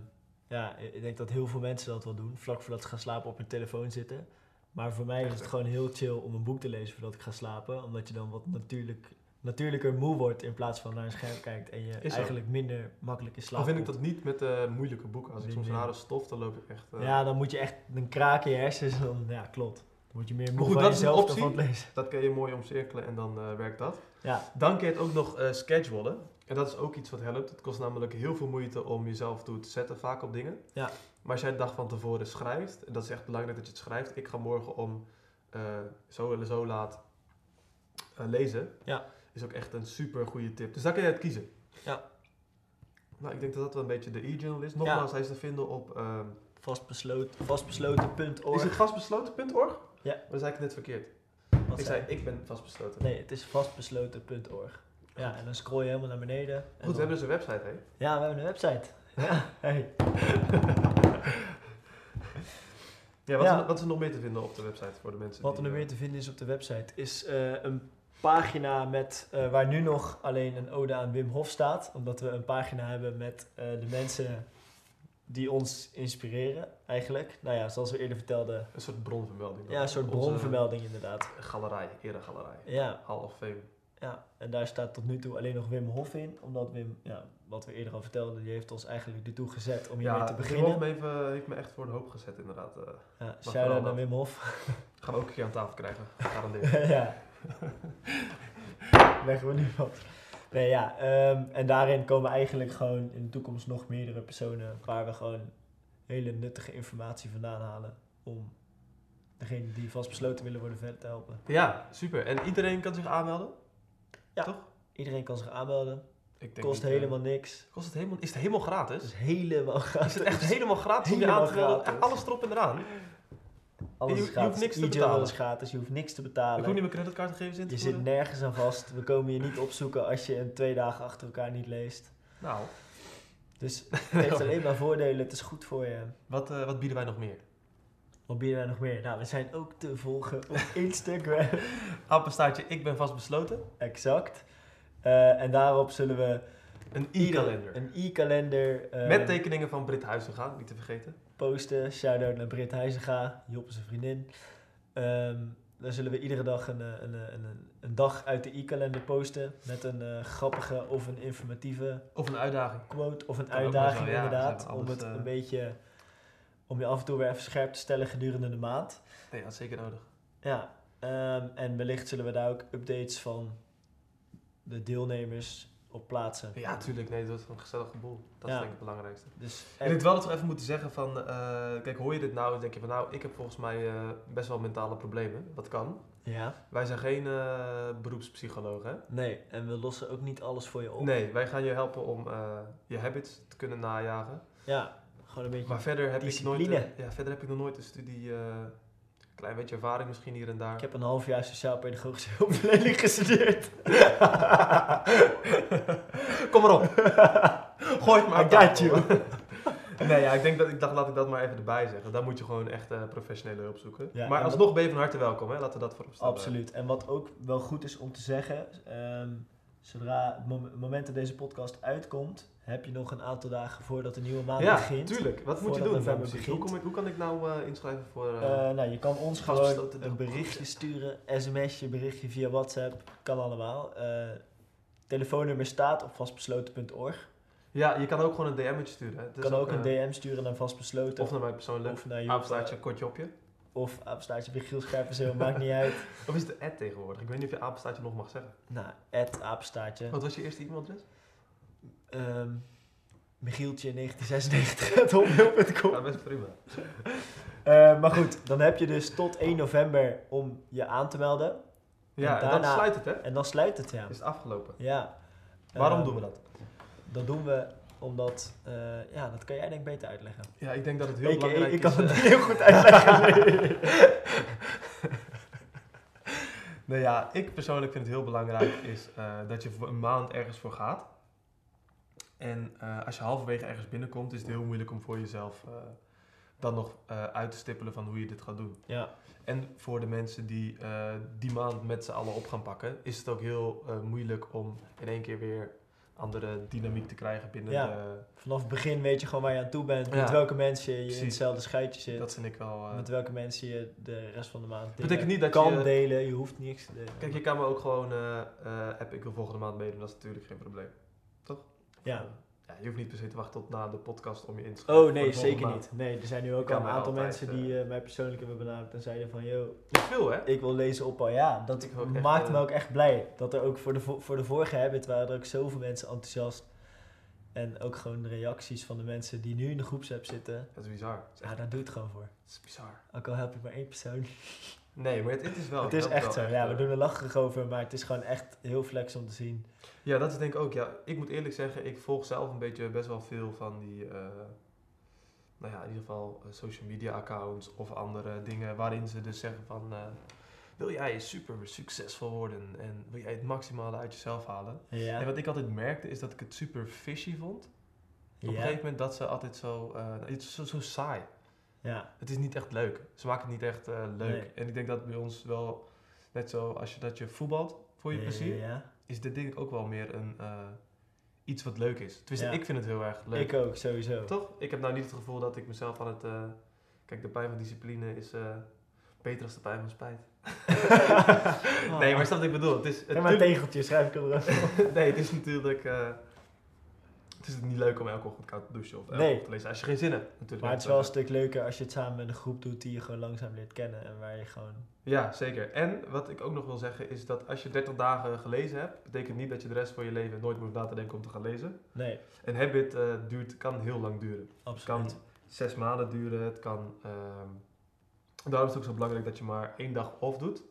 B: ja, ik ik denk dat heel veel mensen dat wel doen, vlak voordat ze gaan slapen op hun telefoon zitten. Maar voor mij is
A: Echt,
B: het
A: hè?
B: gewoon heel chill om een boek te lezen voordat ik ga slapen, omdat je dan wat natuurlijk, natuurlijker moe wordt in plaats van naar een scherm kijkt en je
A: Is zo.
B: eigenlijk minder makkelijk in slaap
A: Al vind ik
B: komt.
A: dat niet met eh, moeilijke boeken. Als ik
B: Nee,
A: soms
B: nee.
A: rare stof, dan loop ik echt... eh,
B: Ja, dan moet je echt, dan kraken je hersens en dan, ja klopt. Dan word je meer moe
A: goed,
B: van
A: dat is een
B: jezelf dan
A: optie.
B: van het lezen.
A: Dat kan je mooi omcirkelen en dan eh, werkt dat.
B: Ja,
A: Dan kun je het ook nog eh schedulen. En dat is ook iets wat helpt. Het kost namelijk heel veel moeite om jezelf toe te zetten vaak op dingen.
B: Ja.
A: Maar als jij de dag van tevoren schrijft, en dat is echt belangrijk dat je het schrijft. Ik ga morgen om eh, zo en zo laat eh, lezen.
B: Ja.
A: Is ook echt een super goede tip. Dus daar kun je het kiezen.
B: Ja.
A: Nou, ik denk dat dat wel een beetje de e-journal is. Nogmaals, hij is te vinden op... eh,
B: vastbesloten, vastbesloten.org.
A: is het vastbesloten.org?
B: Ja.
A: Dan zei ik het net verkeerd.
B: Wat
A: ik
B: zei
A: zei, ik ben vastbesloten.
B: Nee, het is vastbesloten.org. Ja, en dan scroll je helemaal naar beneden. en
A: Goed, we
B: dan-
A: hebben dus een website, hè?
B: Ja, we hebben een website. Ja, hey.
A: Ja, wat,
B: Ja.
A: Is, wat is er nog meer te vinden op de website voor de mensen?
B: Wat er
A: die,
B: nog
A: eh,
B: meer te vinden is op de website is eh, een pagina met, eh, waar nu nog alleen een ode aan Wim Hof staat. Omdat we een pagina hebben met eh, de mensen die ons inspireren eigenlijk. Nou ja, zoals we eerder vertelden.
A: Een soort bronvermelding.
B: Ja, een soort
A: Onze
B: bronvermelding inderdaad.
A: Galerij, eregalerij.
B: Ja,
A: Hall of Fame.
B: ja, en daar staat tot nu toe alleen nog Wim Hof in. Omdat Wim, ja, wat we eerder al vertelden, die heeft ons eigenlijk ertoe gezet om hiermee
A: Ja,
B: te
A: Wim
B: beginnen.
A: Hof heeft me, heeft me echt voor de hoop gezet inderdaad. eh
B: Ja,
A: vooral
B: shout-out naar
A: dat.
B: Wim Hof.
A: gaan we ook een keer aan tafel krijgen, garandeer.
B: ja. Leggen we nu wat. Nee, ja. ehm, en daarin komen eigenlijk gewoon in de toekomst nog meerdere personen waar we gewoon hele nuttige informatie vandaan halen om degene die vastbesloten willen worden verder te helpen.
A: Ja, super. En iedereen kan zich aanmelden?
B: Ja.
A: Toch?
B: Iedereen kan zich aanmelden.
A: Ik
B: Kost
A: dat, eh,
B: helemaal niks.
A: kost het helemaal... Is het helemaal gratis?
B: Het is helemaal gratis.
A: Is het echt helemaal gratis om je
B: Helemaal
A: aan te melden?
B: gratis.
A: Echt alles erop en eraan.
B: Alles
A: je-
B: is
A: je hoeft
B: gratis.
A: niks te
B: E-journal
A: betalen.
B: is gratis. Je hoeft niks te
A: Ik hoef
B: betalen.
A: niet mijn creditcardgegevens in te
B: Je zit
A: voeren.
B: nergens aan vast. We komen je niet opzoeken als je een twee dagen achter elkaar niet leest.
A: Nou,
B: Dus het heeft alleen maar voordelen. Het is goed voor je.
A: wat, eh, wat bieden wij nog meer?
B: Wat bieden wij nog meer? Nou, we zijn ook te volgen op Instagram.
A: Appenstaartje, ik ben vastbesloten.
B: exact. Eh, en daarop zullen we
A: Een
B: ieder-
A: e-kalender. Ehm.
B: een e-kalender eh,
A: Met tekeningen van Brit Huizinga, niet te vergeten.
B: posten. Shout-out naar Britt Huizinga, Job is een vriendin. Ehm dan zullen we iedere dag een, eh, een, eh, een, een, een dag uit de e-kalender posten. Met een eh, grappige of een informatieve
A: Of een uitdaging.
B: quote of een
A: Kan ook
B: uitdaging
A: nog wel, ja,
B: inderdaad.
A: zeg maar,
B: om het
A: anders, eh,
B: een beetje, om je af en toe weer even scherp te stellen gedurende de maand.
A: Nee, dat is zeker nodig.
B: Ja, ehm, en wellicht zullen we daar ook updates van de deelnemers op plaatsen.
A: Ja, tuurlijk. Nee, dat is een gezellig gevoel. Dat
B: Ja.
A: is denk ik het belangrijkste.
B: Dus
A: Ik denk wel dat we even moeten zeggen van, eh, kijk, hoor je dit nou en denk je van, nou, ik heb volgens mij eh, best wel mentale problemen. Dat kan.
B: ja,
A: Wij zijn geen eh beroepspsychologen, hè?
B: nee, en we lossen ook niet alles voor je op.
A: Nee, wij gaan je helpen om eh, je habits te kunnen najagen.
B: Ja, gewoon een beetje.
A: Maar verder heb, ik nooit,
B: Discipline.
A: eh, ja, verder heb ik nog nooit een studie, eh, klein beetje ervaring misschien hier en daar.
B: Ik heb een half jaar sociaal-pedagogische hulpverlening gestudeerd.
A: Kom maar op. Gooi het maar
B: I
A: op
B: got
A: tafel.
B: you.
A: nee, ja, ik, denk dat, ik dacht, laat ik dat maar even erbij zeggen. Daar moet je gewoon echt eh, professionele hulp zoeken.
B: Ja,
A: maar
B: en
A: alsnog ben je van harte welkom, hè? laten we dat voorop stellen.
B: Absoluut. En wat ook wel goed is om te zeggen, ehm, zodra het mom- moment dat deze podcast uitkomt, heb je nog een aantal dagen voordat de nieuwe maand
A: ja,
B: begint.
A: tuurlijk. Wat moet je
B: Voordat
A: doen?
B: november
A: Precies.
B: begint.
A: Hoe, kom ik, hoe kan ik nou eh, inschrijven voor... eh,
B: Eh, nou, je kan ons gewoon
A: Vastbesloten
B: een
A: dag.
B: berichtje sturen, sms'je, berichtje via WhatsApp, kan allemaal. Eh, telefoonnummer staat op vastbesloten.org.
A: Ja, je kan ook gewoon een DM'tje sturen. Hè? Het
B: Je
A: is
B: kan ook een
A: eh,
B: DM sturen naar vastbesloten
A: Of naar mij persoonlijk.
B: of naar Joep,
A: Apenstaartje, kortje op je.
B: eh, Of apenstaartje Michiel Scherpenzeel, maakt niet uit.
A: Of is het de ad tegenwoordig? Ik weet niet of je apenstaartje nog mag zeggen.
B: Nou, at apenstaartje.
A: Wat was je eerste e-mailadres?
B: Ehm, Michieltje 1996.com.
A: Ja, best prima.
B: Eh, maar goed, dan heb je dus tot 1 november om je aan te melden.
A: Ja,
B: En
A: en
B: daarna-
A: dan sluit het, hè?
B: En dan sluit het, ja.
A: Is het afgelopen.
B: ja.
A: Waarom
B: Ehm,
A: doen we dat?
B: Dat doen we omdat, eh, ja, dat kan jij denk ik beter uitleggen.
A: Ja, ik denk dat het heel
B: Ik,
A: belangrijk
B: ik
A: is.
B: kan
A: eh,
B: het niet heel goed uitleggen.
A: Nou ja, ik persoonlijk vind het heel belangrijk is eh, dat je voor een maand ergens voor gaat. En eh, als je halverwege ergens binnenkomt, is het heel moeilijk om voor jezelf eh, dan nog eh, uit te stippelen van hoe je dit gaat doen.
B: ja,
A: En voor de mensen die eh, die maand met z'n allen op gaan pakken, is het ook heel eh, moeilijk om in één keer weer andere dynamiek te krijgen binnen
B: Ja.
A: de...
B: vanaf het begin weet je gewoon waar je aan toe bent. Met
A: Ja.
B: welke mensen je in
A: Precies.
B: hetzelfde schuitje zit.
A: Dat vind ik wel... eh,
B: met welke mensen je de rest van de maand dingen
A: Betekent niet dat
B: kan
A: je-
B: delen. Je hoeft niks te delen.
A: Kijk, je kan me ook gewoon eh eh, appen, ik wil volgende maand meedoen, dat is natuurlijk geen probleem. Toch?
B: Ja.
A: ja. Je hoeft niet per se te wachten tot na de podcast om je in te schrijven.
B: Oh
A: voor
B: nee,
A: de volgende
B: zeker
A: maand.
B: niet. Nee, er zijn nu ook
A: Kan
B: al een
A: mij
B: aantal
A: altijd,
B: mensen die eh, mij persoonlijk hebben benaderd en zeiden van... Yo,
A: Dat is veel, hè?
B: ik wil lezen op al. Ja, dat
A: Ik ook echt,
B: maakt
A: eh,
B: me ook echt blij. Dat er ook voor de, vo- voor de vorige habit waren er ook zoveel mensen enthousiast. En ook gewoon de reacties van de mensen die nu in de groepsapp zitten.
A: Dat is bizar. Dat is, echt,
B: Ja, daar doe je het gewoon voor.
A: dat is bizar.
B: Ook al help ik maar één persoon.
A: Nee, maar het, het is wel.
B: het is
A: helpt
B: echt zo.
A: wel
B: Ja, we
A: eh.
B: doen er lacherig over, maar het is gewoon echt heel flex om te zien.
A: Ja, dat is denk ik ook. Ja, ik moet eerlijk zeggen, ik volg zelf een beetje best wel veel van die, eh, nou ja, in ieder geval eh, social media accounts of andere dingen waarin ze dus zeggen van, eh, wil jij super succesvol worden en wil jij het maximale uit jezelf halen?
B: Ja.
A: En wat ik altijd merkte is dat ik het super fishy vond. Op een
B: ja.
A: gegeven moment dat ze altijd zo, eh, nou, het is zo, zo saai.
B: ja.
A: Het is niet echt leuk. Ze maken het niet echt eh, leuk.
B: Nee.
A: En ik denk dat bij ons wel net zo, als je dat je voetbalt, voor je plezier,
B: Ja.
A: is dit denk ik ook wel meer een, eh, iets wat leuk is. Tenminste,
B: Ja.
A: ik vind het heel erg leuk.
B: Ik ook, sowieso.
A: Toch? Ik heb nou niet het gevoel dat ik mezelf aan het... eh, kijk, de pijn van discipline is eh, beter dan de pijn van spijt.
B: Oh.
A: nee, maar snap wat ik bedoel? Het is, het
B: En mijn tegeltje schrijf ik er ook.
A: nee, het is natuurlijk... eh, het is niet leuk om elke ochtend koud te douchen of elke
B: Nee.
A: ochtend te lezen. Als je geen zin hebt, natuurlijk.
B: Maar het is wel een stuk leuker als je het samen met een groep doet die je gewoon langzaam leert kennen en waar je gewoon...
A: Ja, zeker. En wat ik ook nog wil zeggen is dat als je 30 dagen gelezen hebt, betekent niet dat je de rest van je leven nooit meer hoeft na te denken om te gaan lezen.
B: Nee,
A: Een habit eh, duurt, kan heel lang duren. Het kan
B: absoluut.
A: zes maanden duren, het kan... ehm, daarom is het ook zo belangrijk dat je maar één dag off doet.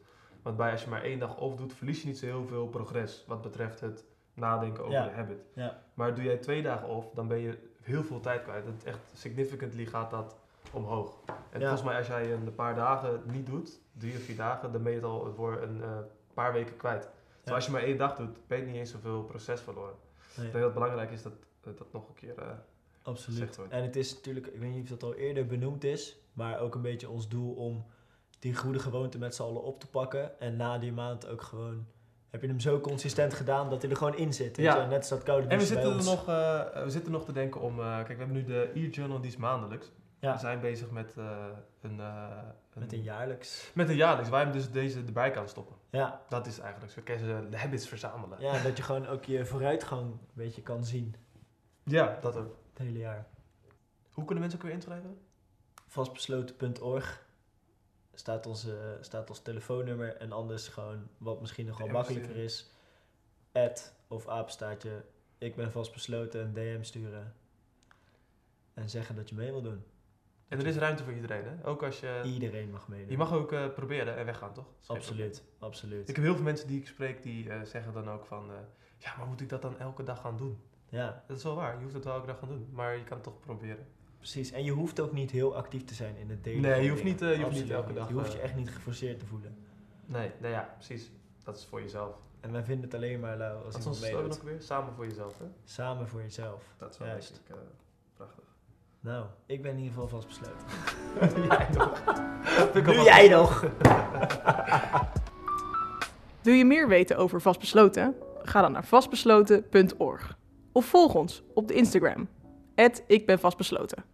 A: Want bij als je maar één dag off doet, verlies je niet zo heel veel progress wat betreft het nadenken over
B: Ja.
A: de habit.
B: Ja.
A: Maar doe jij twee dagen off, dan ben je heel veel tijd kwijt. Dat echt significantly gaat dat omhoog. En
B: Ja.
A: volgens mij als jij een paar dagen niet doet, drie of vier dagen, dan ben je het al voor een eh, paar weken kwijt. Terwijl als je maar één dag doet, ben je niet eens zoveel proces verloren.
B: Nee,
A: Ik denk dat het belangrijk is dat dat, dat nog een keer... eh,
B: absoluut.
A: gezegd wordt.
B: En het is natuurlijk, ik weet niet of dat al eerder benoemd is, maar ook een beetje ons doel om die goede gewoonte met z'n allen op te pakken. En na die maand ook gewoon, heb je hem zo consistent gedaan dat hij er gewoon in zit. weet
A: Ja.
B: je? En net als dat koude
A: En we
B: douchen bij
A: zitten, er
B: ons.
A: nog, eh, we zitten nog te denken om. eh, kijk, we hebben nu de e-journal, die is maandelijks.
B: Ja.
A: We zijn bezig met eh, een, eh,
B: Met een jaarlijks.
A: Met een jaarlijks, waar je hem dus deze erbij kan stoppen.
B: Ja,
A: Dat is eigenlijk zo. Kun je de habits verzamelen.
B: ja, dat je gewoon ook je vooruitgang een beetje kan zien
A: Ja, dat ook.
B: het hele jaar.
A: Hoe kunnen mensen ook weer inschrijven?
B: Vastbesloten.org staat, onze, eh, staat ons telefoonnummer en anders gewoon wat misschien nog wel
A: DM
B: makkelijker is. Ad of apenstaartje. Ik ben vastbesloten een DM sturen. En zeggen dat je mee wil doen.
A: En er is ruimte voor iedereen, hè? Ook als je.
B: Iedereen mag meedoen.
A: Je mag ook eh, proberen en weggaan, toch? Dat is geen probleem.
B: Absoluut, absoluut.
A: Ik heb heel veel mensen die ik spreek die eh, zeggen dan ook van. eh, ja, maar moet ik dat dan elke dag gaan doen?
B: Ja,
A: Dat is wel waar. Je hoeft het wel elke dag gaan doen. Maar je kan het toch proberen.
B: precies. En je hoeft ook niet heel actief te zijn in het delen.
A: Nee,
B: van
A: je hoeft
B: dingen.
A: niet, eh, je hoeft niet
B: Absoluut
A: elke dag,
B: Je hoeft je
A: eh,
B: echt niet geforceerd te voelen.
A: Nee, nou ja, precies. Dat is voor jezelf.
B: En wij vinden het alleen maar lauw als
A: Wat is ons
B: iemand
A: slogan
B: meedoet.
A: ook weer? Samen voor jezelf, hè?
B: Samen voor jezelf.
A: Dat is
B: wel,
A: wel
B: denk Juist.
A: ik eh, prachtig.
B: Nou, ik ben in ieder geval vastbesloten.
A: jij toch?
B: Nu jij nog!
C: Wil je meer weten over vastbesloten? Ga dan naar vastbesloten.org of volg ons op de Instagram. Ik ben vastbesloten.